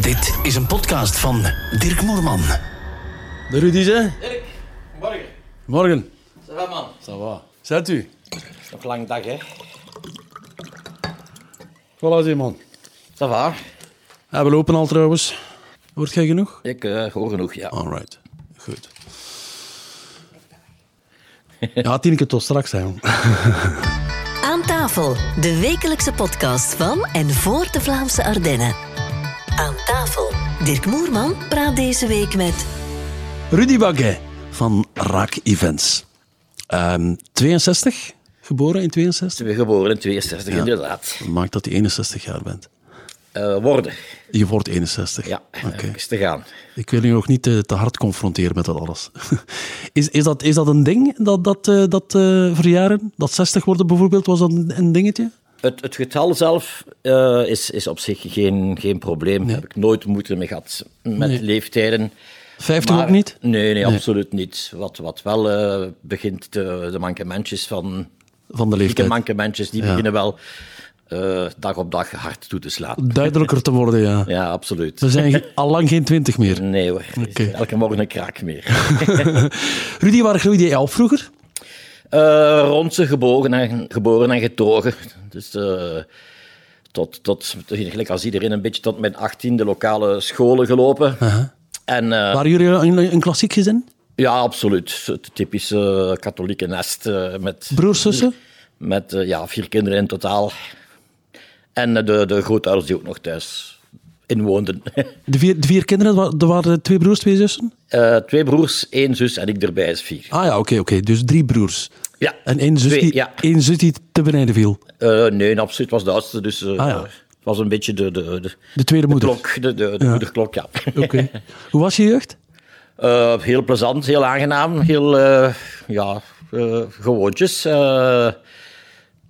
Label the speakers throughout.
Speaker 1: Dit is een podcast van Dirk Moerman.
Speaker 2: De Rudy, hè?
Speaker 3: Dirk, morgen.
Speaker 2: Morgen.
Speaker 3: Ça va, man?
Speaker 2: Ça va. Zet u.
Speaker 3: Nog lang dag, hè?
Speaker 2: Voilà, die man.
Speaker 3: Ça va?
Speaker 2: Ja, we lopen al trouwens. Hoort jij genoeg?
Speaker 3: Ik eh, hoor genoeg, ja.
Speaker 2: Alright. Goed. Ja, Tineke, tot straks, hè, jong.
Speaker 4: Aan tafel, de wekelijkse podcast van en voor de Vlaamse Ardennen. Aan tafel, Dirk Moerman praat deze week met
Speaker 2: Rudy Baguet van Raak Events. Ehm, 62, geboren in 62.
Speaker 3: Ze weer geboren in 62, inderdaad.
Speaker 2: Dat maakt dat je 61 jaar bent.
Speaker 3: Eh, worden.
Speaker 2: Je wordt 61.
Speaker 3: Ja, eh,
Speaker 2: Oké.
Speaker 3: is te gaan.
Speaker 2: Ik wil je nog niet te, te hard confronteren met dat alles. Is, is, dat, is dat een ding, dat, dat, eh, dat eh, verjaren? Dat 60 worden bijvoorbeeld, was dat een, een dingetje?
Speaker 3: Het, het getal zelf eh, is, is op zich geen, geen probleem. Heb ik nooit moeite mee gehad met
Speaker 2: Nee.
Speaker 3: leeftijden.
Speaker 2: 50
Speaker 3: Maar-
Speaker 2: ook niet?
Speaker 3: Nee, nee, absoluut niet. Wat, wat wel eh, begint de, de mankementjes van...
Speaker 2: Van de
Speaker 3: Dikke
Speaker 2: leeftijd.
Speaker 3: mankementjes, die
Speaker 2: Ja.
Speaker 3: beginnen wel eh, dag op dag hard toe te slaan.
Speaker 2: Duidelijker te worden, ja.
Speaker 3: Ja, absoluut.
Speaker 2: We zijn ge- allang geen 20 meer.
Speaker 3: Nee hoor, Het is
Speaker 2: Dus- Oké.
Speaker 3: elke morgen een kraak meer.
Speaker 2: Rudy, waar groeide jij op vroeger?
Speaker 3: Eh Rondse geboren en, geboren en getogen. Dus eh, tot, tot, gelijk als iedereen een beetje, tot mijn achttiende lokale scholen gelopen. En eh,
Speaker 2: Waren jullie een, een klassiek gezin?
Speaker 3: ja, absoluut. Het typische katholieke nest eh, met,
Speaker 2: Broers, zussen?
Speaker 3: met eh, ja, vier kinderen in totaal. En eh, de, de grootouders die ook nog thuis inwoonden.
Speaker 2: De vier, de vier kinderen, wa- er waren twee broers, twee zussen?
Speaker 3: Eh, twee broers, één zus en ik erbij is vier.
Speaker 2: Ah ja, oké, oké. Dus drie broers.
Speaker 3: Ja.
Speaker 2: En één zus,
Speaker 3: Twee,
Speaker 2: die,
Speaker 3: ja.
Speaker 2: één zus die te beneden viel.
Speaker 3: Eh, nee, absoluut. was de oudste, dus eh,
Speaker 2: Ah, ja.
Speaker 3: het was een beetje de, de, de,
Speaker 2: De tweede moeder.
Speaker 3: klok, de, de, de moederklok, ja.
Speaker 2: Oké. Hoe was je jeugd?
Speaker 3: Eh, heel plezant, heel aangenaam, heel, eh, ja, eh, gewoontjes. eh,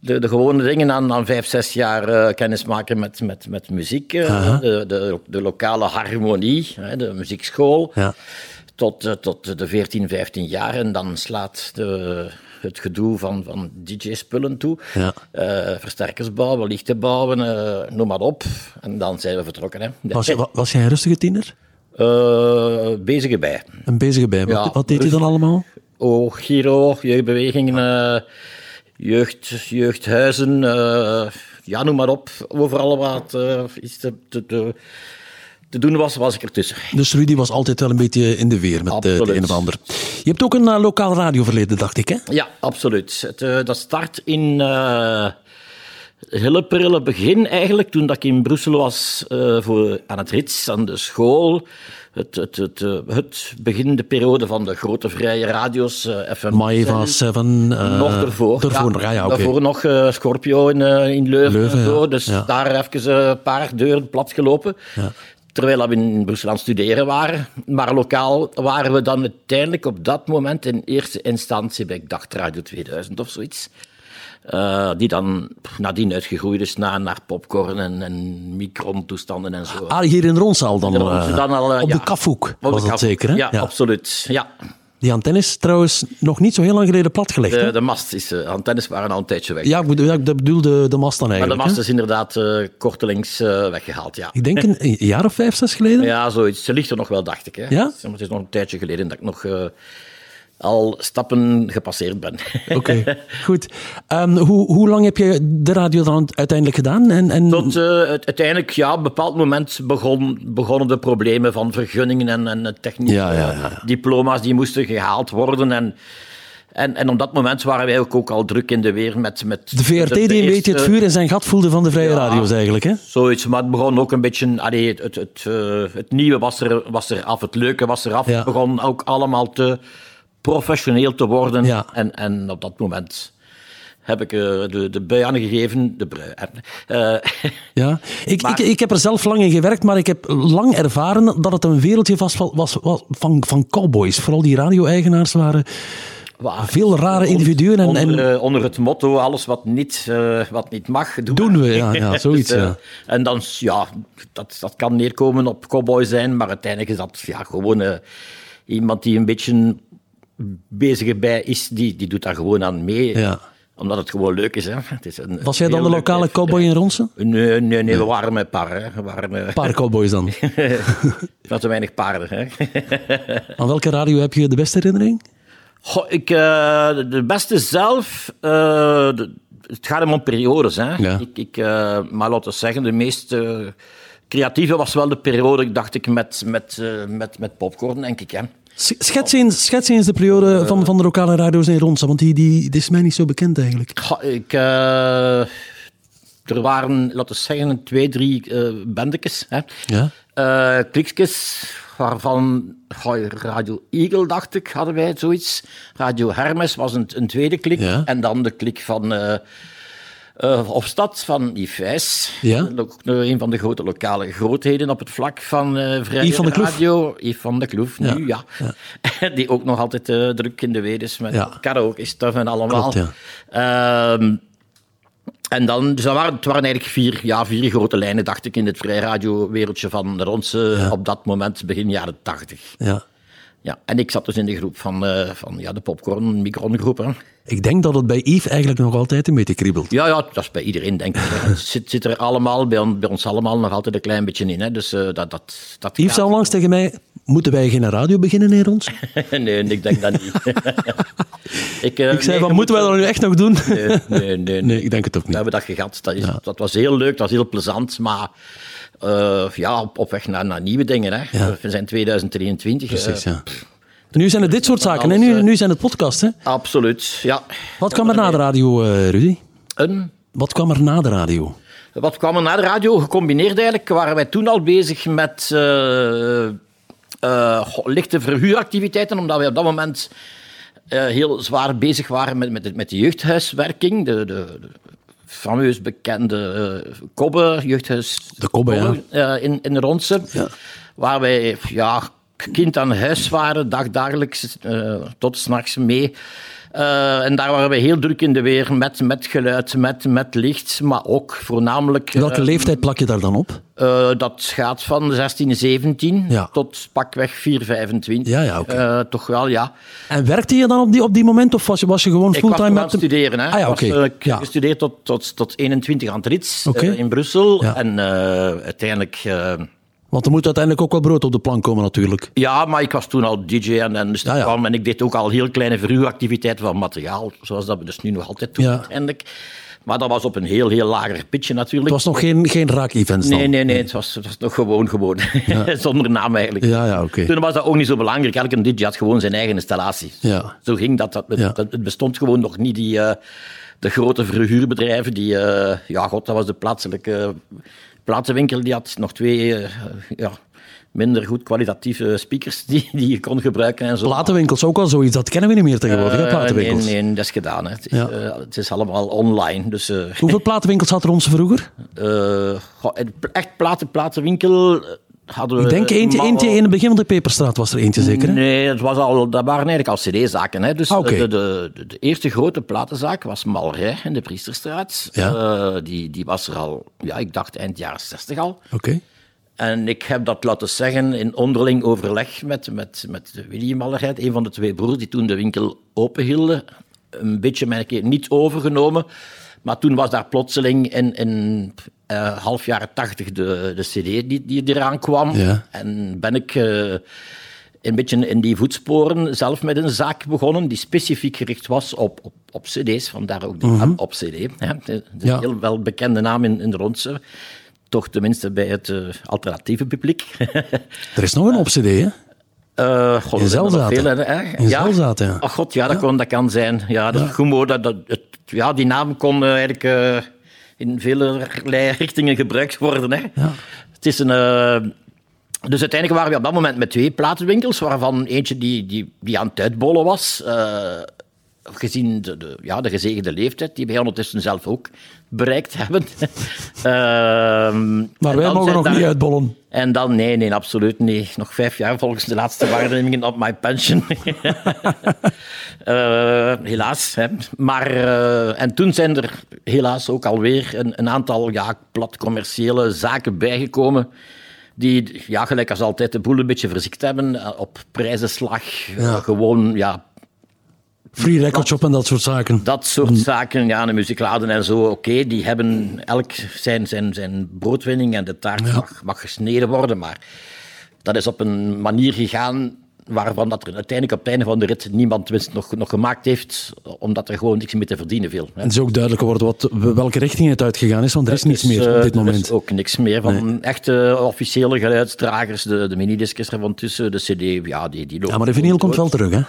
Speaker 3: de, de gewone dingen aan, aan vijf, zes jaar eh, kennismaken met, met, met muziek. eh, de, de, de lokale harmonie, hè, de muziekschool.
Speaker 2: Ja.
Speaker 3: Tot, eh, tot de 14, 15 jaar. En dan slaat de, het gedoe van, van DJ-spullen toe.
Speaker 2: Ja.
Speaker 3: Eh, versterkers bouwen, lichten bouwen, eh, noem maar op. En dan zijn we vertrokken. Hè.
Speaker 2: Was, je- wa- was jij een rustige tiener?
Speaker 3: Eh, bezige bij.
Speaker 2: Een bezige bij. Wat,
Speaker 3: Ja,
Speaker 2: wat deed je
Speaker 3: rustig.
Speaker 2: dan allemaal?
Speaker 3: Oh, Giro, jeugdbewegingen, eh, jeugd, jeugdhuizen, eh, ja, noem maar op. Overal waar het eh, iets te, te, te, te doen was, was ik ertussen.
Speaker 2: Dus Rudy was altijd wel een beetje in de weer met eh, de,
Speaker 3: Absoluut.
Speaker 2: een of ander. Je hebt ook een eh, lokaal radioverleden, dacht ik, hè?
Speaker 3: Ja, absoluut. Het, eh, dat start in eh hele prille begin eigenlijk, toen dat ik in Brussel was eh, voor, aan het Rits, aan de school. Het, het, het, eh, het begin de periode van de grote vrije radio's, eh, FM.
Speaker 2: Maeva, Seven... eh,
Speaker 3: nog ervoor.
Speaker 2: Daarvoor, ja, ja, oké.
Speaker 3: daarvoor nog eh, Scorpio in, eh, in Leuven.
Speaker 2: Leuven,
Speaker 3: en zo.
Speaker 2: ja.
Speaker 3: Dus
Speaker 2: Ja.
Speaker 3: daar even eh, een paar deuren platgelopen. Terwijl we in Brussel aan het studeren waren. Maar lokaal waren we dan uiteindelijk op dat moment in eerste instantie bij, ik dacht, Radio 2000 of zoiets. Eh, die dan nadien uitgegroeid is naar, naar popcorn en, en micron-toestanden en zo.
Speaker 2: Ah, hier in Ronsaal dan.
Speaker 3: En dan was
Speaker 2: eh,
Speaker 3: ze dan al, eh,
Speaker 2: op
Speaker 3: ja.
Speaker 2: de Kafhoek
Speaker 3: Op
Speaker 2: was
Speaker 3: de
Speaker 2: dat
Speaker 3: kap-
Speaker 2: zeker, hè?
Speaker 3: Ja, absoluut. Ja.
Speaker 2: Die antenne is trouwens nog niet zo heel lang geleden platgelegd. hè?
Speaker 3: De, de mast is, eh, antennes waren al een tijdje weg.
Speaker 2: Ja, ik bedoel, ja, ik bedoel de, de mast dan
Speaker 3: Maar de
Speaker 2: eigenlijk.
Speaker 3: mast is inderdaad eh kortelings eh, weggehaald, ja.
Speaker 2: hè? Ik denk een, een jaar of vijf, zes geleden.
Speaker 3: Ja, zoiets. Ze ligt er nog wel, dacht ik. Hè.
Speaker 2: Ja?
Speaker 3: Het is nog een tijdje geleden dat ik nog eh, al stappen gepasseerd ben.
Speaker 2: Oké, goed. Ehm, hoe, hoe lang heb je de radio dan uiteindelijk gedaan? En, en...
Speaker 3: Tot eh, het- uiteindelijk, ja, op een bepaald moment begon, begonnen de problemen van vergunningen en, en eh, technische
Speaker 2: Ja, ja,
Speaker 3: eh,
Speaker 2: ja.
Speaker 3: diploma's die moesten gehaald worden. En, en, en op dat moment waren wij ook, ook al druk in de weer met... met
Speaker 2: De VRT die een beetje het
Speaker 3: Dus eerste-
Speaker 2: vuur in zijn gat voelde van de vrije radio's eigenlijk, hè?
Speaker 3: Zoiets, maar het begon ook een beetje. Allee, het, het, het, eh, het nieuwe was er, was er af, het leuke was er af.
Speaker 2: Ja.
Speaker 3: Het begon ook allemaal te professioneel te worden.
Speaker 2: Ja.
Speaker 3: En, en op dat moment heb ik eh, de, de bui aangegeven. De brui. eh, eh,
Speaker 2: Ja, ik,
Speaker 3: Maar-
Speaker 2: ik, ik heb er zelf lang in gewerkt, maar ik heb lang ervaren dat het een wereldje vast wa- was, was van, van cowboys. Vooral die radio-eigenaars waren
Speaker 3: waar.
Speaker 2: veel rare individuen en,
Speaker 3: onder,
Speaker 2: en
Speaker 3: eh, onder het motto: alles wat niet, eh, wat niet mag, doen,
Speaker 2: doen we, ja, ja zoiets.
Speaker 3: Dus, eh,
Speaker 2: ja.
Speaker 3: En dan, s- ja, dat, dat kan neerkomen op cowboy zijn, maar uiteindelijk is dat ja, gewoon eh, iemand die een beetje bezig bij is, die, die doet daar gewoon aan mee.
Speaker 2: Ja.
Speaker 3: Omdat het gewoon leuk is. Hè. Het is een,
Speaker 2: Was jij dan
Speaker 3: heel
Speaker 2: de
Speaker 3: leuk
Speaker 2: lokale
Speaker 3: feest.
Speaker 2: cowboy in Ronsen?
Speaker 3: Nee, nee, nee, we waren met paarden. hè. We waren met
Speaker 2: Paar cowboys dan.
Speaker 3: veel te weinig paarden. Hè.
Speaker 2: Aan welke radio heb je de beste herinnering?
Speaker 3: Goh, ik, eh, de- de beste zelf, eh, de- het gaat hem om periodes. Hè?
Speaker 2: Ja.
Speaker 3: Ik, ik, eh, maar laten we zeggen, de meest eh, creatieve was wel de periode, dacht ik, met, met, eh, met, met popcorn, denk ik. Hè?
Speaker 2: S- Schets eens, schets eens de
Speaker 3: Eh.
Speaker 2: periode van, van de lokale radio's in Ronsen, want die, die, die is mij niet zo bekend eigenlijk.
Speaker 3: Goh, ik, eh, er waren, laten we zeggen, twee, drie eh bendetjes. Hè?
Speaker 2: Ja.
Speaker 3: Eh, kliksjes, waarvan goh, Radio Eagle, dacht ik, hadden wij zoiets. Radio Hermes was een, een tweede klik.
Speaker 2: Ja.
Speaker 3: En dan de klik van... eh, eh, op stad van Yves
Speaker 2: Ja.
Speaker 3: Ook een van de grote lokale grootheden op het vlak van eh Vrije
Speaker 2: Yves van de Kloef.
Speaker 3: Radio. Yves van de Kloef, nu
Speaker 2: Ja,
Speaker 3: ja. Die ook nog altijd eh, druk in de weer is met
Speaker 2: Ja.
Speaker 3: karaoke stuff en allemaal.
Speaker 2: Klopt,
Speaker 3: Ehm, en dan, dus dat waren, het waren eigenlijk vier, ja, vier grote lijnen, dacht ik, in het vrij radio-wereldje van Ronse op dat moment, begin jaren tachtig.
Speaker 2: Ja.
Speaker 3: Ja, en ik zat dus in de groep van, eh, van ja, de popcorn-micron-groep. hè.
Speaker 2: Ik denk dat het bij Yves eigenlijk nog altijd een beetje kriebelt.
Speaker 3: Ja, ja, dat is bij iedereen, denk ik. hè. Het zit, zit er allemaal, bij, on- bij ons allemaal, nog altijd een klein beetje in. Hè. Dus eh, dat, dat, dat
Speaker 2: Yves zei onlangs tegen mij, moeten wij geen radio beginnen in Ronsen?
Speaker 3: nee, ik denk dat niet. ik, eh,
Speaker 2: Ik zei,
Speaker 3: nee,
Speaker 2: wat
Speaker 3: je
Speaker 2: moeten wij dat nu echt nog doen?
Speaker 3: moet- Nee, nee, nee.
Speaker 2: Nee, ik denk het ook
Speaker 3: We
Speaker 2: niet.
Speaker 3: hebben dat gehad. Dat, is, dat was heel leuk, dat was heel plezant. Maar eh, ja, op, op weg naar, naar nieuwe dingen. Hè.
Speaker 2: Ja.
Speaker 3: We zijn 2023. eh,
Speaker 2: Precies, ja. Nu zijn het dit soort zaken, hè?
Speaker 3: alles,
Speaker 2: Nu,
Speaker 3: eh.
Speaker 2: nu zijn het podcasts. Hè?
Speaker 3: Absoluut, ja.
Speaker 2: Wat kwam er na de radio, eh, Rudy?
Speaker 3: Een
Speaker 2: Wat kwam er na de radio?
Speaker 3: Wat kwam er na de radio? Gecombineerd eigenlijk waren wij toen al bezig met eh, eh, goh, lichte verhuuractiviteiten, omdat wij op dat moment eh, heel zwaar bezig waren met, met, de- met de jeugdhuiswerking, de, de, de fameus bekende eh, Kobbe, jeugdhuis...
Speaker 2: De Kobbe, ja.
Speaker 3: eh, in, in Ronse, waar wij ja, kind aan huis waren, dagdagelijks eh, tot s'nachts mee. Eh, en daar waren we heel druk in de weer met, met geluid, met, met licht, maar ook voornamelijk... eh,
Speaker 2: Welke leeftijd plak je daar dan op?
Speaker 3: eh, dat gaat van 16, 17
Speaker 2: Ja.
Speaker 3: tot pakweg 4, 25.
Speaker 2: Ja, ja, oké.
Speaker 3: Eh, toch wel, ja.
Speaker 2: En werkte je dan op die, op die moment of was je, was je gewoon
Speaker 3: Ik was
Speaker 2: fulltime
Speaker 3: toen aan
Speaker 2: met
Speaker 3: het studeren. Hè.
Speaker 2: Ah ja,
Speaker 3: Ik was,
Speaker 2: oké.
Speaker 3: eh, Ik
Speaker 2: Ja.
Speaker 3: heb gestudeerd tot, tot, tot 21 aan het Rits eh,
Speaker 2: Oké.
Speaker 3: in Brussel.
Speaker 2: Ja.
Speaker 3: En eh, uiteindelijk... eh,
Speaker 2: Want er moet uiteindelijk ook wel brood op de plank komen natuurlijk.
Speaker 3: Ja, maar ik was toen al DJ en, en dus dat
Speaker 2: Ja, ja.
Speaker 3: kwam en ik deed ook al heel kleine verhuuractiviteiten van materiaal, zoals dat we dus nu nog altijd doen
Speaker 2: Ja.
Speaker 3: uiteindelijk. Maar dat was op een heel, heel lager pitje natuurlijk.
Speaker 2: Het was nog geen, geen raak-events dan?
Speaker 3: nee, nee, nee, het was, het was nog gewoon, gewoon. Zonder naam eigenlijk.
Speaker 2: Ja, ja, oké.
Speaker 3: Toen was dat ook niet zo belangrijk. Elke DJ had gewoon zijn eigen installatie.
Speaker 2: Ja.
Speaker 3: Zo ging dat. dat,
Speaker 2: Ja.
Speaker 3: dat- Het bestond gewoon nog niet die, eh, de grote verhuurbedrijven die... eh, ja, god, dat was de plaatselijke platenwinkel. Die had nog twee eh, ja, minder goed kwalitatieve speakers die, die je kon gebruiken en zo.
Speaker 2: Platenwinkels, ook al zoiets. Dat kennen we niet meer tegenwoordig, hè,
Speaker 3: Eh, nee,
Speaker 2: platenwinkels.
Speaker 3: nee, dat is gedaan. Hè. Het, is,
Speaker 2: Ja.
Speaker 3: eh, het is allemaal online. Dus, eh,
Speaker 2: Hoeveel platenwinkels had er ons vroeger?
Speaker 3: eh, goh, en echt platen, platenwinkel eh, hadden we...
Speaker 2: Ik denk eentje,
Speaker 3: maar-
Speaker 2: eentje in het begin van de Peperstraat was er eentje zeker, hè?
Speaker 3: Nee, het was al, dat waren eigenlijk al cd-zaken. Hè. Dus
Speaker 2: Ah, oké.
Speaker 3: de, de, de, de eerste grote platenzaak was Malrij in de Priesterstraat.
Speaker 2: Ja.
Speaker 3: Eh, die, die was er al, ja, ik dacht eind jaren 60 al.
Speaker 2: Oké.
Speaker 3: En ik heb dat laten zeggen in onderling overleg met, met, met de Willy Mallerij, een van de twee broers die toen de winkel openhielden. Een beetje, mijn keer, niet overgenomen. Maar toen was daar plotseling in, in eh, half jaren tachtig de, de cd die, die eraan kwam.
Speaker 2: Ja.
Speaker 3: En ben ik eh, een beetje in die voetsporen zelf met een zaak begonnen die specifiek gericht was op, op, op cd's. Vandaar ook de naam op cd. Hè. Het is een
Speaker 2: Ja.
Speaker 3: heel wel bekende naam in, in de Rondse. Toch tenminste bij het eh, alternatieve publiek.
Speaker 2: Er is nog een op-cd, hè?
Speaker 3: Eh, god,
Speaker 2: In
Speaker 3: er zijn er nog
Speaker 2: Zelzaten.
Speaker 3: veel, hè, hè?
Speaker 2: In Zelzaten, ja.
Speaker 3: Ach god, ja, dat, Kon, dat kan zijn. Ja, dat is goed mooi. Dat, dat, het, ja, die naam kon eh, eigenlijk eh, in vele richtingen gebruikt worden. Hè. Het is een... eh, dus uiteindelijk waren we op dat moment met twee platenwinkels, waarvan eentje die, die, die aan het uitbollen was. eh, gezien de, de, ja, de gezegende leeftijd, die wij ondertussen zelf ook bereikt hebben. Ehm,
Speaker 2: Maar
Speaker 3: en
Speaker 2: wij
Speaker 3: dan
Speaker 2: mogen
Speaker 3: zijn
Speaker 2: nog
Speaker 3: daar-
Speaker 2: niet uitbollen.
Speaker 3: en dan, nee, nee, absoluut niet. Nog vijf jaar volgens de laatste waarnemingen op my pension. Eh, helaas. Hè. Maar, eh, en toen zijn er helaas ook alweer een, een aantal ja, plat commerciële zaken bijgekomen. Die, ja, gelijk als altijd, de boel een beetje verziekt hebben. eh, Op prijzenslag. eh, gewoon, ja,
Speaker 2: Free record shop en dat soort zaken.
Speaker 3: Dat soort zaken, ja, de muziekladen en zo, oké, die hebben elk zijn, zijn, zijn broodwinning en de taart mag, mag gesneden worden, maar dat is op een manier gegaan waarvan dat er uiteindelijk op het einde van de rit niemand winst nog, nog gemaakt heeft, omdat er gewoon niks meer te verdienen viel. hè.
Speaker 2: En het is ook duidelijk geworden wat, welke richting het uitgegaan is, want er is niets
Speaker 3: Dus,
Speaker 2: meer
Speaker 3: eh,
Speaker 2: op dit
Speaker 3: Er is
Speaker 2: moment.
Speaker 3: ook niks meer van echte officiële geluidsdragers. De, de minidiscs ervan tussen, de cd, ja, die, die
Speaker 2: Ja,
Speaker 3: lopen
Speaker 2: maar de
Speaker 3: gewoon
Speaker 2: vinyl komt
Speaker 3: dood.
Speaker 2: wel terug, hè?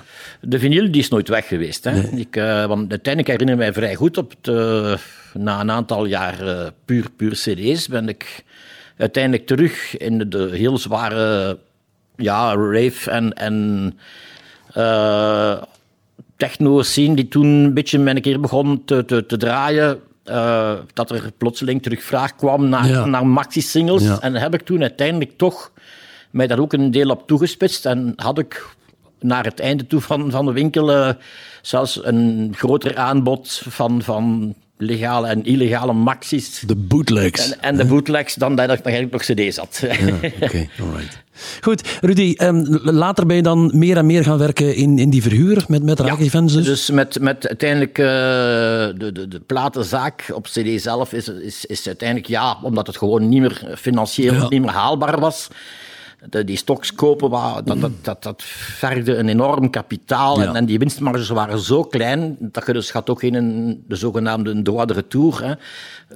Speaker 3: De vinyl die is nooit weg geweest. Hè? Ik, eh, want uiteindelijk herinner ik mij vrij goed op het, eh, na een aantal jaar eh, puur, puur CD's ben ik uiteindelijk terug in de, de heel zware ja, rave en, en eh, techno scene die toen een beetje met een keer begon te, te, te draaien. eh, dat er plotseling terug vraag kwam naar,
Speaker 2: Ja.
Speaker 3: naar maxi-singles.
Speaker 2: Ja.
Speaker 3: En heb ik toen uiteindelijk toch mij daar ook een deel op toegespitst. En had ik naar het einde toe van, van de winkel eh, zelfs een groter aanbod van, van legale en illegale maxis.
Speaker 2: De bootlegs.
Speaker 3: En, en de bootlegs dan dat ik nog eigenlijk nog cd's had.
Speaker 2: Oké, alright. Goed, Rudy, ehm, later ben je dan meer en meer gaan werken in, in die verhuur met, met raak-events dus?
Speaker 3: Dus met, met uiteindelijk eh, de, de, de platenzaak op CD zelf is, is, is uiteindelijk ja, omdat het gewoon niet meer financieel
Speaker 2: Ja.
Speaker 3: niet meer haalbaar was. De, die stoks kopen, wa- dat, dat, dat, dat vergde een enorm kapitaal.
Speaker 2: Mm. Ja.
Speaker 3: En, en die winstmarges waren zo klein dat je dus gaat ook geen de zogenaamde droit de retour. Hè.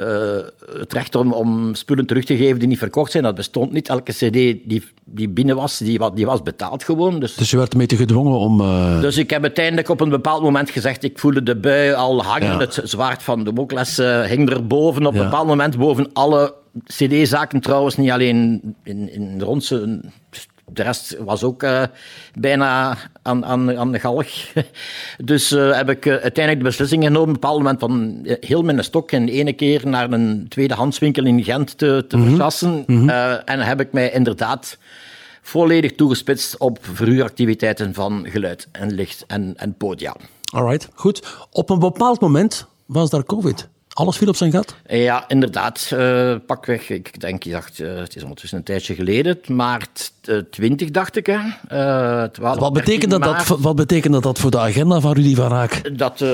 Speaker 3: Eh, het recht om, om spullen terug te geven die niet verkocht zijn, dat bestond niet. Elke CD die, die binnen was, die, wa- die was betaald gewoon. Dus
Speaker 2: Dus je werd een beetje gedwongen om... eh,
Speaker 3: dus ik heb uiteindelijk op een bepaald moment gezegd, ik voelde de bui al hangen.
Speaker 2: Ja.
Speaker 3: Het zwaard van Damocles eh, hing er boven. Op
Speaker 2: Ja.
Speaker 3: een bepaald moment boven alle cd-zaken trouwens. Niet alleen in, in Ronse, de rest was ook eh, bijna aan, aan, aan de galg. Dus eh, heb ik eh, uiteindelijk de beslissing genomen, op een bepaald moment, van eh, heel mijn stok in de ene keer naar een tweedehandswinkel in Gent te, te vergassen. Eh, en heb ik mij inderdaad volledig toegespitst op verhuuractiviteiten van geluid en licht en, en podia.
Speaker 2: Alright, goed. Op een bepaald moment was daar COVID. Alles viel op zijn gat.
Speaker 3: Eh, Ja, inderdaad, eh, pakweg, ik denk, ik dacht, eh, het is ondertussen een tijdje geleden, maart eh, 20 dacht ik. Hè? Eh, 12,
Speaker 2: Wat betekent dat,
Speaker 3: 13
Speaker 2: dat,
Speaker 3: maart,
Speaker 2: wat betekent dat, dat voor de agenda van Rudy van Raak?
Speaker 3: dat, eh,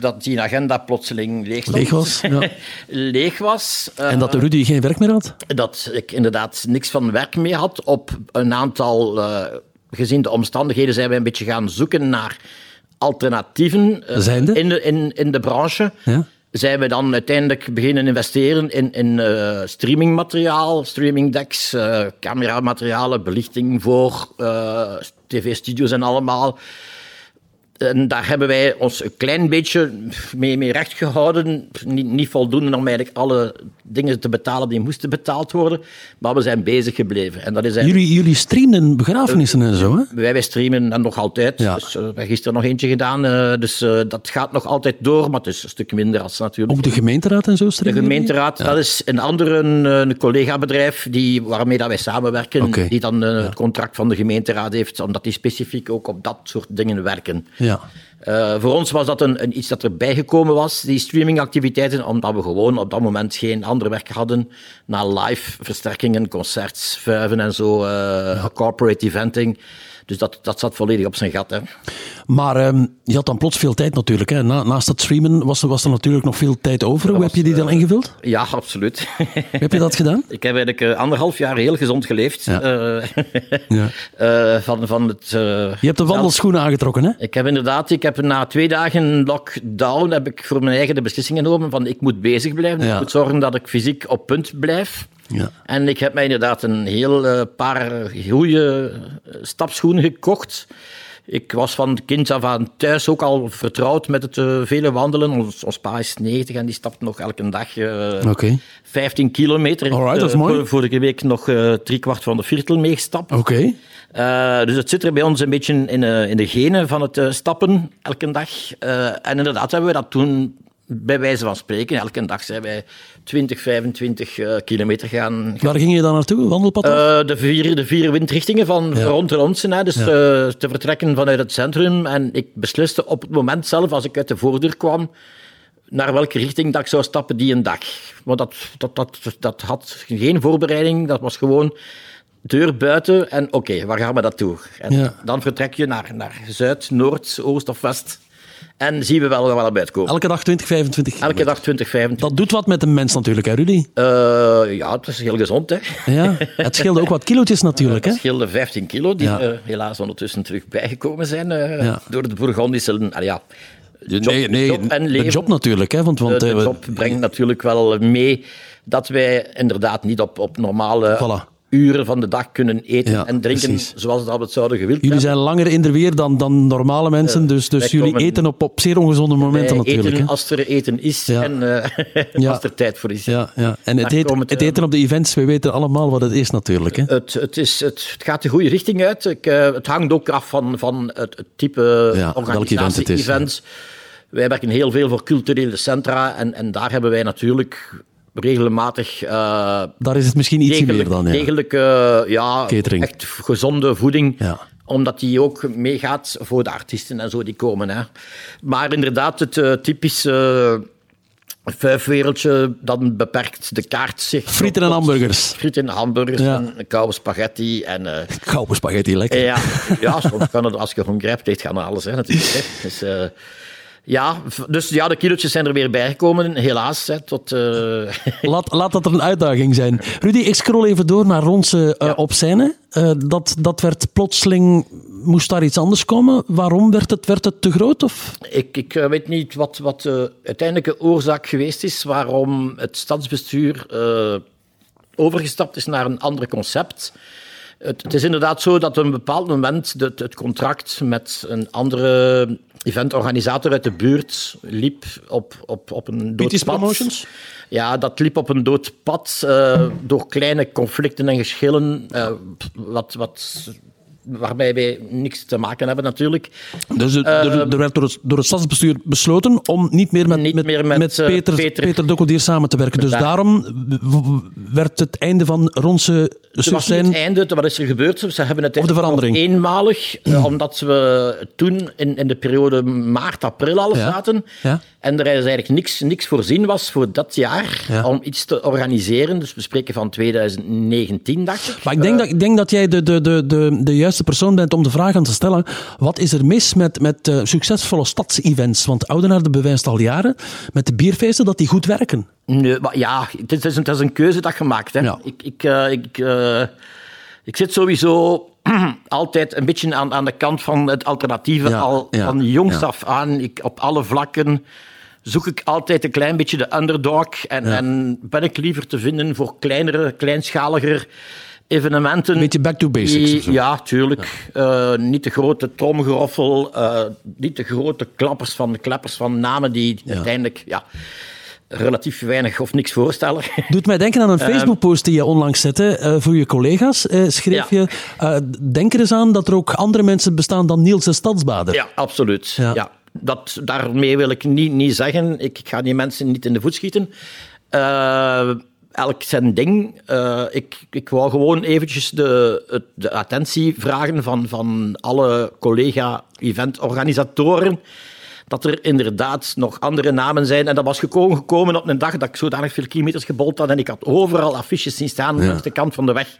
Speaker 3: dat die agenda plotseling leeg, stond.
Speaker 2: Leeg was, ja.
Speaker 3: leeg was. eh,
Speaker 2: En dat de Rudy geen werk meer had?
Speaker 3: dat ik inderdaad niks van werk meer had. Op een aantal, eh, gezien de omstandigheden, zijn wij een beetje gaan zoeken naar alternatieven eh,
Speaker 2: Zijnde?
Speaker 3: in, de, in, in de branche.
Speaker 2: Ja.
Speaker 3: Zijn we dan uiteindelijk beginnen investeren in, in eh, streamingmateriaal, streamingdecks, eh, cameramaterialen, belichting voor eh, tv-studios en allemaal. En daar hebben wij ons een klein beetje mee, mee recht gehouden. Niet, niet voldoende om eigenlijk alle dingen te betalen die moesten betaald worden. Maar we zijn bezig gebleven. En dat is eigenlijk,
Speaker 2: Jullie, jullie streamden begrafenissen en zo, hè?
Speaker 3: wij, wij streamen dan nog altijd.
Speaker 2: Ja.
Speaker 3: Dus, eh, we hebben gisteren nog eentje gedaan. eh, dus eh, dat gaat nog altijd door. Maar het is een stuk minder als natuurlijk.
Speaker 2: Ook de gemeenteraad en zo
Speaker 3: De
Speaker 2: streamden jullie?
Speaker 3: gemeenteraad, dat is een ander een, een collega-bedrijf die, waarmee dat wij samenwerken,
Speaker 2: Oké.
Speaker 3: die dan eh, het contract van de gemeenteraad heeft, omdat die specifiek ook op dat soort dingen werken.
Speaker 2: Ja.
Speaker 3: Eh, voor ons was dat een, een iets dat erbij gekomen was, die streamingactiviteiten, omdat we gewoon op dat moment geen ander werk hadden na live versterkingen, concerts, vuiven en zo, eh, corporate eventing. Dus dat, dat zat volledig op zijn gat. Hè.
Speaker 2: Maar ehm, je had dan plots veel tijd natuurlijk. Hè? Na, naast het streamen was, er- was er natuurlijk nog veel tijd over. Hoe heb je die dan
Speaker 3: eh,
Speaker 2: ingevuld?
Speaker 3: Ja, absoluut.
Speaker 2: Hoe heb je dat gedaan?
Speaker 3: Ik heb eigenlijk eh, anderhalf jaar heel gezond geleefd. eh,
Speaker 2: Ja.
Speaker 3: eh, van, van het, eh,
Speaker 2: Je hebt de wandelschoenen aangetrokken, hè?
Speaker 3: Ik heb inderdaad, ik heb na twee dagen lockdown heb ik voor mijn eigen de beslissing genomen van ik moet bezig blijven.
Speaker 2: Ja.
Speaker 3: Ik moet zorgen dat ik fysiek op punt blijf.
Speaker 2: Ja.
Speaker 3: En ik heb mij inderdaad een heel eh, paar goede stapschoenen gekocht. Ik was van kind af aan thuis ook al vertrouwd met het eh, vele wandelen. Ons, ons pa is 90 en die stapt nog elke dag eh,
Speaker 2: Oké.
Speaker 3: 15 kilometer. Heeft,
Speaker 2: Alright, dat is
Speaker 3: eh,
Speaker 2: mooi.
Speaker 3: vor- Vorige week nog eh driekwart van de viertel meegestapt.
Speaker 2: Oké.
Speaker 3: Eh, dus het zit er bij ons een beetje in, eh, in de genen van het eh, stappen elke dag. Eh, en inderdaad hebben we dat toen bij wijze van spreken. Elke dag zijn wij 20, 25 eh, kilometer gaan.
Speaker 2: Waar ging je dan naartoe? Wandelpad? af?
Speaker 3: Eh, de, vier, de vier windrichtingen van rond de Lonsen, hè, dus eh, te vertrekken vanuit het centrum. En ik besliste op het moment zelf, als ik uit de voordeur kwam, naar welke richting dat ik zou stappen die een dag. Want dat, dat, dat, dat had geen voorbereiding, dat was gewoon deur buiten en oké, waar gaan we dat toe? En
Speaker 2: Ja.
Speaker 3: dan vertrek je naar, naar zuid, noord, oost of west. En zien we wel waar we uitkomen.
Speaker 2: Elke dag 20, 25
Speaker 3: Elke
Speaker 2: kilometer.
Speaker 3: dag 20, 25.
Speaker 2: Dat doet wat met een mens natuurlijk, hè, Rudy?
Speaker 3: Eh, ja, het is heel gezond, hè.
Speaker 2: Ja. Het scheelde ook wat kilootjes natuurlijk, hè?
Speaker 3: Het scheelde 15 kilo, die
Speaker 2: Ja.
Speaker 3: eh, helaas ondertussen terug bijgekomen zijn eh,
Speaker 2: Ja.
Speaker 3: door de Bourgondische... ah ja, de job,
Speaker 2: nee, nee,
Speaker 3: job en
Speaker 2: de
Speaker 3: leven.
Speaker 2: job natuurlijk, hè? Want,
Speaker 3: Eh,
Speaker 2: want,
Speaker 3: de
Speaker 2: eh, we-
Speaker 3: job brengt natuurlijk wel mee dat wij inderdaad niet op, op normale
Speaker 2: Voilà.
Speaker 3: uren van de dag kunnen eten
Speaker 2: Ja,
Speaker 3: en drinken
Speaker 2: precies.
Speaker 3: zoals dat we het zouden gewild
Speaker 2: Jullie
Speaker 3: hebben.
Speaker 2: zijn langer in de weer dan, dan normale mensen, dus, dus
Speaker 3: wij
Speaker 2: jullie
Speaker 3: komen-
Speaker 2: eten op, op zeer ongezonde momenten
Speaker 3: Wij
Speaker 2: natuurlijk.
Speaker 3: Eh, eten
Speaker 2: hè?
Speaker 3: als er eten is
Speaker 2: Ja.
Speaker 3: en eh,
Speaker 2: Ja.
Speaker 3: als er tijd voor is.
Speaker 2: Ja, ja. En het,
Speaker 3: Daar
Speaker 2: heet-
Speaker 3: komt het,
Speaker 2: het
Speaker 3: eh,
Speaker 2: eten op de events, we weten allemaal wat het is natuurlijk. Hè?
Speaker 3: Het, het, is, het, het gaat de goede richting uit. Ik, eh, het hangt ook af van, van het, het type
Speaker 2: Ja, welk
Speaker 3: organisatie,
Speaker 2: event het is,
Speaker 3: events. Wij werken heel veel voor culturele centra en, en daar hebben wij natuurlijk regelmatig eh,
Speaker 2: Daar is het misschien iets meer
Speaker 3: degelijk-
Speaker 2: dan. Ja.
Speaker 3: degelijke, ja,
Speaker 2: Catering.
Speaker 3: echt gezonde voeding.
Speaker 2: Ja.
Speaker 3: Omdat die ook meegaat voor de artiesten en zo die komen. Hè. Maar inderdaad, het eh, typische eh, vijfwereldje, dan beperkt de kaart zich. tot-
Speaker 2: Frieten en hamburgers.
Speaker 3: frieten en hamburgers
Speaker 2: Ja.
Speaker 3: en koude spaghetti. En, eh,
Speaker 2: Gouden spaghetti, lekker.
Speaker 3: ja, ja, soms kan het, als je honger hebt, dit gaan alles. Hè, natuurlijk, hè. Dus, eh, ja, v- dus ja, de kilootjes zijn er weer bijgekomen, helaas. Hè, tot, eh,
Speaker 2: Laat, laat dat er een uitdaging zijn. Rudy, ik scroll even door naar Ronse eh op scène. Eh, dat, dat werd plotseling... Moest daar iets anders komen? Waarom werd het, werd het te groot? Of?
Speaker 3: Ik, ik eh, weet niet wat, wat de uiteindelijke oorzaak geweest is waarom het stadsbestuur eh, overgestapt is naar een ander concept. Het, het is inderdaad zo dat op een bepaald moment het, het contract met een andere eventorganisator uit de buurt liep op, op, op een dood
Speaker 2: Pieters
Speaker 3: pad.
Speaker 2: Promotions?
Speaker 3: Ja, dat liep op een dood pad eh, door kleine conflicten en geschillen, eh, wat, wat, waarbij wij niks te maken hebben natuurlijk.
Speaker 2: Dus het- er, er werd door het, door het stadsbestuur besloten om niet meer met,
Speaker 3: Ehm, Niet
Speaker 2: met,
Speaker 3: meer met, eh,
Speaker 2: Peter, Peter.
Speaker 3: Peter-
Speaker 2: Dokkodier samen te werken. Dus
Speaker 3: Daar-
Speaker 2: daarom w- w- werd het einde van Ronse
Speaker 3: Het was niet het
Speaker 2: Sursen...
Speaker 3: einde, wat is er gebeurd? Ze hebben het
Speaker 2: Of de verandering.
Speaker 3: nog eenmalig, eh, omdat we toen in, in de periode maart, april al
Speaker 2: Ja.
Speaker 3: zaten.
Speaker 2: Ja.
Speaker 3: En er is eigenlijk niks, niks voorzien was voor dat jaar
Speaker 2: Ja.
Speaker 3: om iets te organiseren. Dus we spreken van 2019, dacht ik.
Speaker 2: Maar ik denk, dat, ik denk dat jij de, de, de, de, de juiste persoon bent om de vraag aan te stellen. Wat is er mis met, met eh, succesvolle stadsevents? Want Oudenaarde bewijst al jaren met de bierfeesten dat die goed werken.
Speaker 3: Eh, Nee, maar ja, het is, het is een, het is een keuze dat je maakt. Hè.
Speaker 2: Ja.
Speaker 3: Ik, ik, eh, ik, eh, ik zit sowieso altijd een beetje aan, aan de kant van het alternatieve.
Speaker 2: Ja,
Speaker 3: al
Speaker 2: ja,
Speaker 3: van jongs
Speaker 2: ja.
Speaker 3: af aan, ik, op alle vlakken, zoek ik altijd een klein beetje de underdog. En, en ben ik liever te vinden voor kleinere, kleinschaliger evenementen. Een
Speaker 2: beetje back to basics of zo.
Speaker 3: ja, tuurlijk. Eh, niet de grote tromgeroffel, eh, niet de grote klappers van de klappers van namen die uiteindelijk... Ja, relatief weinig of niks voorstellen.
Speaker 2: Doet mij denken aan een
Speaker 3: Ehm.
Speaker 2: Facebook-post die je onlangs zette eh, voor je collega's. eh, schreef
Speaker 3: Ja.
Speaker 2: je, eh, denk er eens aan dat er ook andere mensen bestaan dan Niels de Stadsbader.
Speaker 3: ja, absoluut.
Speaker 2: Ja.
Speaker 3: Ja. Dat, daarmee wil ik niet, niet zeggen, ik, ik ga die mensen niet in de voet schieten. Eh, elk zijn ding. Eh, ik, ik wou gewoon eventjes de, het- de attentie vragen van, van alle collega-eventorganisatoren. Dat er inderdaad nog andere namen zijn. En dat was gekomen, gekomen op een dag dat ik zodanig veel kilometers gebold had. En ik had overal affiches zien staan langs de kant van de weg.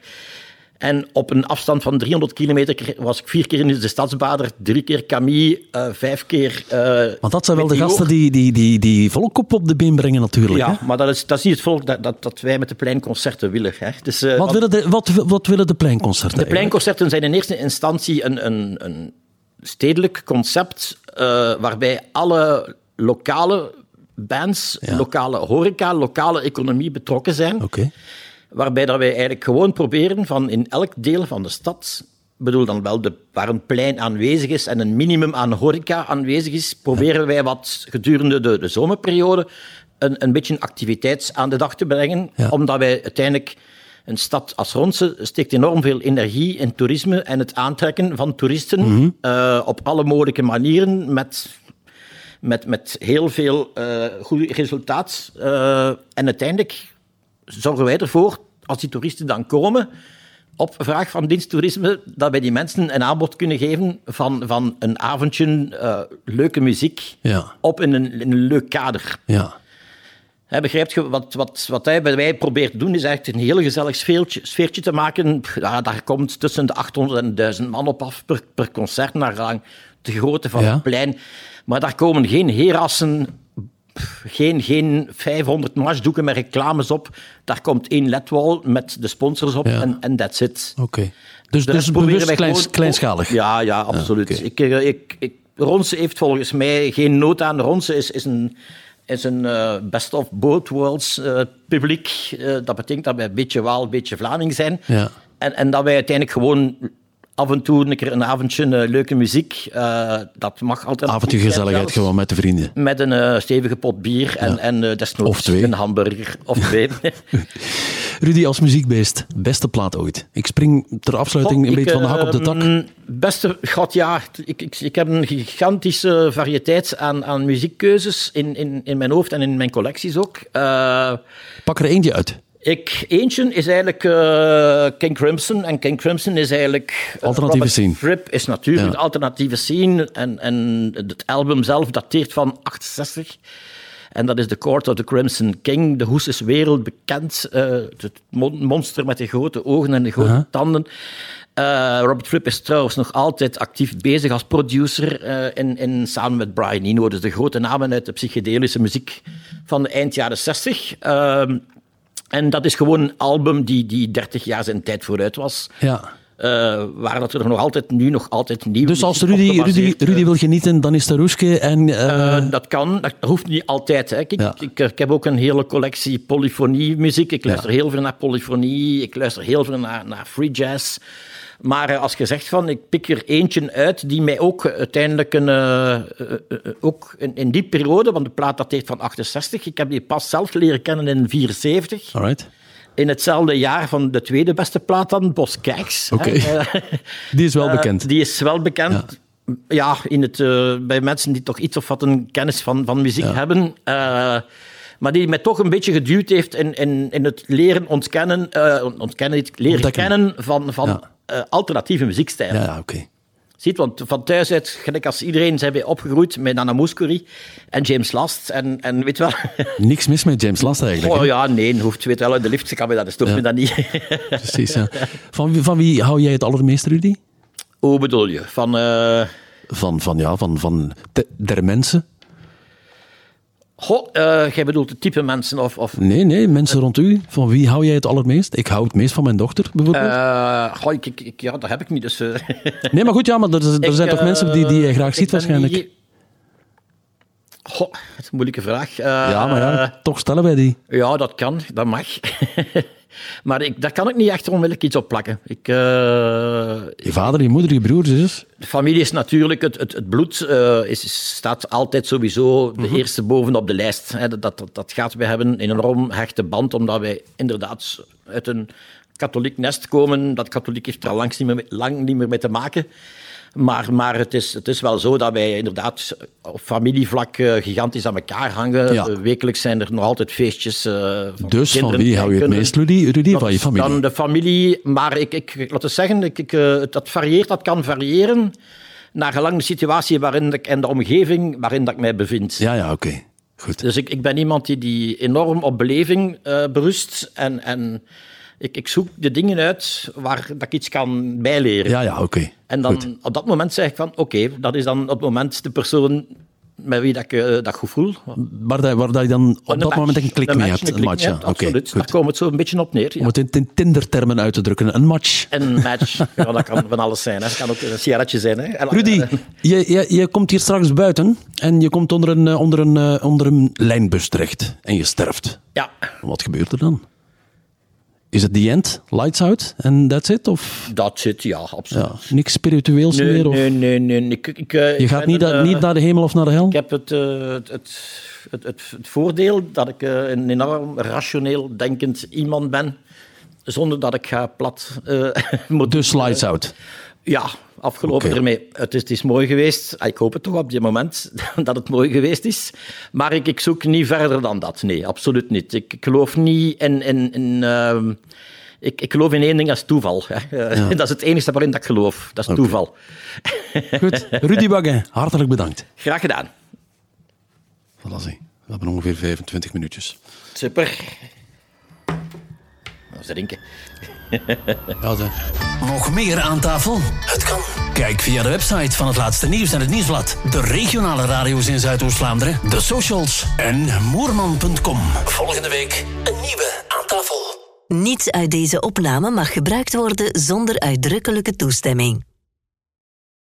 Speaker 3: En op een afstand van 300 kilometer was ik vier keer in de Stadsbader, drie keer Camille, eh, vijf keer... eh,
Speaker 2: Want dat zijn wel de
Speaker 3: met die
Speaker 2: gasten
Speaker 3: oor.
Speaker 2: die, die, die, die volk op, op de been brengen natuurlijk. hè?
Speaker 3: Ja, maar dat is, dat is niet het volk dat, dat, dat wij met de pleinconcerten willen. Hè. Dus, eh, want
Speaker 2: Wat, willen de, wat, wat willen de pleinconcerten?
Speaker 3: de pleinconcerten zijn in eerste instantie een, een, een stedelijk concept eh, waarbij alle lokale bands, lokale horeca, lokale economie betrokken zijn.
Speaker 2: Oké.
Speaker 3: Waarbij dat wij eigenlijk gewoon proberen van in elk deel van de stad, ik bedoel dan wel de, waar een plein aanwezig is en een minimum aan horeca aanwezig is, proberen wij wat gedurende de, de zomerperiode een, een beetje activiteits aan de dag te brengen.
Speaker 2: Ja.
Speaker 3: Omdat wij uiteindelijk een stad als Ronse steekt enorm veel energie in toerisme en het aantrekken van toeristen eh, op alle mogelijke manieren met met, met heel veel eh goed resultaat. Eh, en uiteindelijk zorgen wij ervoor, als die toeristen dan komen, op vraag van diensttoerisme, dat wij die mensen een aanbod kunnen geven van, van een avondje eh, leuke muziek
Speaker 2: Ja.
Speaker 3: op in een, in een leuk kader.
Speaker 2: Ja.
Speaker 3: Hè, begrijp je, wat, wat, wat hij bij wij probeert te doen, is eigenlijk een heel gezellig sfeertje, sfeertje te maken. Ja, daar komt tussen de 800 en 1000 man op af per, per concert, naar lang de grootte van
Speaker 2: Ja.
Speaker 3: het plein. Maar daar komen geen herassen, pff, geen, geen 500 marsdoeken met reclames op. Daar komt één ledwall met de sponsors op
Speaker 2: Ja.
Speaker 3: en en that's it.
Speaker 2: Oké. Dus, dus
Speaker 3: De rest proberen
Speaker 2: bewust
Speaker 3: wij
Speaker 2: kleins,
Speaker 3: gewoon-
Speaker 2: kleinschalig. Ah,
Speaker 3: Ja, ja, absoluut.
Speaker 2: oké.
Speaker 3: ik, eh, ik, ik, Ronse heeft volgens mij geen nood aan. Ronse is, is een, is een eh, best of both worlds eh, publiek. Eh, dat betekent dat wij een beetje Waal, een beetje Vlaming zijn.
Speaker 2: Ja.
Speaker 3: En, en dat wij uiteindelijk gewoon af en toe een keer een avondje eh, leuke muziek. eh, dat mag altijd.
Speaker 2: Avondje
Speaker 3: goed zijn
Speaker 2: gezelligheid
Speaker 3: zelfs.
Speaker 2: gewoon met de vrienden.
Speaker 3: Met een eh, stevige pot bier en, en eh, desnoods
Speaker 2: Of twee.
Speaker 3: een hamburger of twee.
Speaker 2: Rudy als muziekbeest, beste plaat ooit. Ik spring ter afsluiting
Speaker 3: God,
Speaker 2: een
Speaker 3: ik,
Speaker 2: beetje van de hak op de tak.
Speaker 3: ehm, beste, god ja, ik, ik, ik heb een gigantische variëteit aan, aan muziekkeuzes in, in, in mijn hoofd en in mijn collecties ook. Eh,
Speaker 2: Pak er eentje uit.
Speaker 3: ik, eentje is eigenlijk eh King Crimson en King Crimson is eigenlijk... eh,
Speaker 2: Alternatieve
Speaker 3: Robert
Speaker 2: scene.
Speaker 3: Fripp is natuurlijk
Speaker 2: Ja.
Speaker 3: de alternatieve scene en, en het album zelf dateert van 68. En dat is The Court of the Crimson King. De hoes is wereldbekend. eh, het mon- monster met de grote ogen en de grote tanden. Eh, Robert Fripp is trouwens nog altijd actief bezig als producer. eh, in, in, samen met Brian Eno. Dus de grote namen uit de psychedelische muziek van de eind jaren 60. Ehm, en dat is gewoon een album die, die 30 jaar zijn tijd vooruit was.
Speaker 2: Ja.
Speaker 3: Eh, waar dat er nog altijd, nu nog altijd nieuw
Speaker 2: Dus als Rudy, Rudy, Rudy wil genieten, dan is Taroeske en... eh,
Speaker 3: eh, dat kan, dat hoeft niet altijd. Hè. Kijk,
Speaker 2: Ja.
Speaker 3: ik, ik, ik heb ook een hele collectie polyfonie-muziek. Ik luister heel veel naar polyfonie, ik luister heel veel naar, naar free jazz. Maar eh, als je zegt van, ik pik er eentje uit die mij ook uiteindelijk een, eh, eh, eh, eh, ook in, in die periode, want de plaat dateert van 68, ik heb die pas zelf leren kennen in 74.
Speaker 2: alright.
Speaker 3: In hetzelfde jaar van de tweede beste plaat dan, Bos Kijks. hè.
Speaker 2: Oké.
Speaker 3: Eh,
Speaker 2: Die is wel bekend.
Speaker 3: eh, die is wel bekend. Ja, in het, eh, bij mensen die toch iets of wat een kennis van, van muziek hebben. eh, maar die mij toch een beetje geduwd heeft in, in, in het leren ontkennen, eh, ontkennen niet, leren
Speaker 2: Ontdekken.
Speaker 3: kennen van, van
Speaker 2: Ja.
Speaker 3: eh, alternatieve muziekstijlen.
Speaker 2: Ja, ja, oké.
Speaker 3: Ziet, want van thuis uit, gelijk als iedereen, zijn wij opgegroeid met Nana Mouskouri en James Last. En, en weet wel...
Speaker 2: Niks mis met James Last eigenlijk.
Speaker 3: Oh
Speaker 2: hè?
Speaker 3: ja, nee, hoeft weet wel, de lift, ze kan me dat, dus toch me dat niet.
Speaker 2: Precies, ja. Van, wie- van wie hou jij het allermeest, Rudy?
Speaker 3: Hoe bedoel je? Van... eh,
Speaker 2: Van, van ja, van, van de- der mensen?
Speaker 3: Goh, eh, jij bedoelt het type mensen of... of
Speaker 2: Nee, nee, mensen rond u. Van wie hou jij het allermeest? Ik hou het meest van mijn dochter, bijvoorbeeld.
Speaker 3: eh, goh, ik, ik, ik- ja, dat heb ik niet, dus... eh,
Speaker 2: nee, maar goed, ja, maar er, er zijn
Speaker 3: ik,
Speaker 2: toch mensen die, die
Speaker 3: eh,
Speaker 2: je graag
Speaker 3: ik
Speaker 2: ziet
Speaker 3: ben
Speaker 2: waarschijnlijk?
Speaker 3: niet- Goh, dat is een moeilijke vraag. Eh,
Speaker 2: Ja, maar ja, toch stellen wij die.
Speaker 3: ja, dat kan, dat mag. maar ik, daar kan ik niet echt onmiddellijk iets op plakken. Ik, eh,
Speaker 2: Je vader, je moeder, je broer, je zus.
Speaker 3: de familie is natuurlijk, het, het, het bloed eh, is, staat altijd sowieso de
Speaker 2: Mhm.
Speaker 3: eerste boven op de lijst. Hè. Dat, dat, dat gaat, we hebben een enorm hechte band, omdat wij inderdaad uit een katholiek nest komen. Dat katholiek heeft er al langs niet meer, mee- lang niet meer mee te maken. Maar, maar het, is, het is wel zo dat wij inderdaad op familievlak eh, gigantisch aan elkaar hangen.
Speaker 2: Ja.
Speaker 3: Eh, wekelijks zijn er nog altijd feestjes. eh, van
Speaker 2: Dus van
Speaker 3: kinderen
Speaker 2: wie
Speaker 3: die
Speaker 2: hou je het
Speaker 3: kunnen-
Speaker 2: meest, Rudy? Rudy, van je
Speaker 3: dat is
Speaker 2: familie.
Speaker 3: Dan de familie, maar ik, ik laten we zeggen, ik, ik, eh, dat varieert, dat kan variëren naar gelang de situatie waarin ik en de omgeving waarin dat ik mij bevind.
Speaker 2: Ja, ja, oké. Goed.
Speaker 3: Dus ik, ik ben iemand die, die enorm op beleving eh, berust en, en ik, ik zoek de dingen uit waar dat ik iets kan bijleren.
Speaker 2: Ja, ja, oké.
Speaker 3: En dan
Speaker 2: Goed.
Speaker 3: op dat moment zeg ik van, oké, dat is dan op het moment de persoon met wie dat ik eh, dat goed voel.
Speaker 2: Waar, dat- waar dat je dan op dat moment een klik mee hebt. Een match, ja. Oké,
Speaker 3: absoluut. Daar
Speaker 2: goed.
Speaker 3: komen we het zo een beetje op neer. ja.
Speaker 2: Om het in, in Tinder-termen uit te drukken. Een match.
Speaker 3: Een match. Ja, dat kan van alles zijn. Hè. Dat kan ook een sigaretje zijn. Hè. En-
Speaker 2: Rudy,
Speaker 3: eh,
Speaker 2: je, je, je komt hier straks buiten en je komt onder een, eh, onder, een, eh, onder een lijnbus terecht en je sterft.
Speaker 3: Ja.
Speaker 2: Wat gebeurt er dan? Is het the end? Lights out en that's it? Of
Speaker 3: Dat zit, ja, absoluut.
Speaker 2: ja, niks spiritueels
Speaker 3: Nee,
Speaker 2: meer? Of,
Speaker 3: nee, nee, nee. Ik, ik, eh,
Speaker 2: je
Speaker 3: ik
Speaker 2: gaat
Speaker 3: ben
Speaker 2: niet,
Speaker 3: een,
Speaker 2: da-
Speaker 3: eh,
Speaker 2: niet naar de hemel of naar de hel?
Speaker 3: Ik heb het, eh, het, het, het, het, het voordeel dat ik eh, een enorm rationeel denkend iemand ben. Zonder dat ik ga plat eh, moet.
Speaker 2: Dus lights out.
Speaker 3: Ja, afgelopen
Speaker 2: Oké.
Speaker 3: ermee. Het is, het is mooi geweest. Ah, Ik hoop het toch op dit moment dat het mooi geweest is. Maar ik, ik zoek niet verder dan dat. Nee, absoluut niet. Ik, ik geloof niet in. in, in ehm, ik, ik geloof in één ding, dat is toeval. Hè. Eh, Dat is het enige waarin dat ik geloof. Dat is toeval.
Speaker 2: Goed. Rudy Baggen, hartelijk bedankt.
Speaker 3: Graag gedaan.
Speaker 2: Voilà, zie.
Speaker 5: hebben ongeveer 25 minuutjes.
Speaker 3: Super. Nou, ze drinken.
Speaker 5: Ja, ze.
Speaker 2: Nog meer aan tafel? Het kan. Kijk via de website van het laatste nieuws en het nieuwsblad. De regionale radio's in Zuidoost-Vlaanderen. De socials en moerman.com. Volgende week een nieuwe aan tafel.
Speaker 4: Niets uit deze opname mag gebruikt worden zonder uitdrukkelijke toestemming.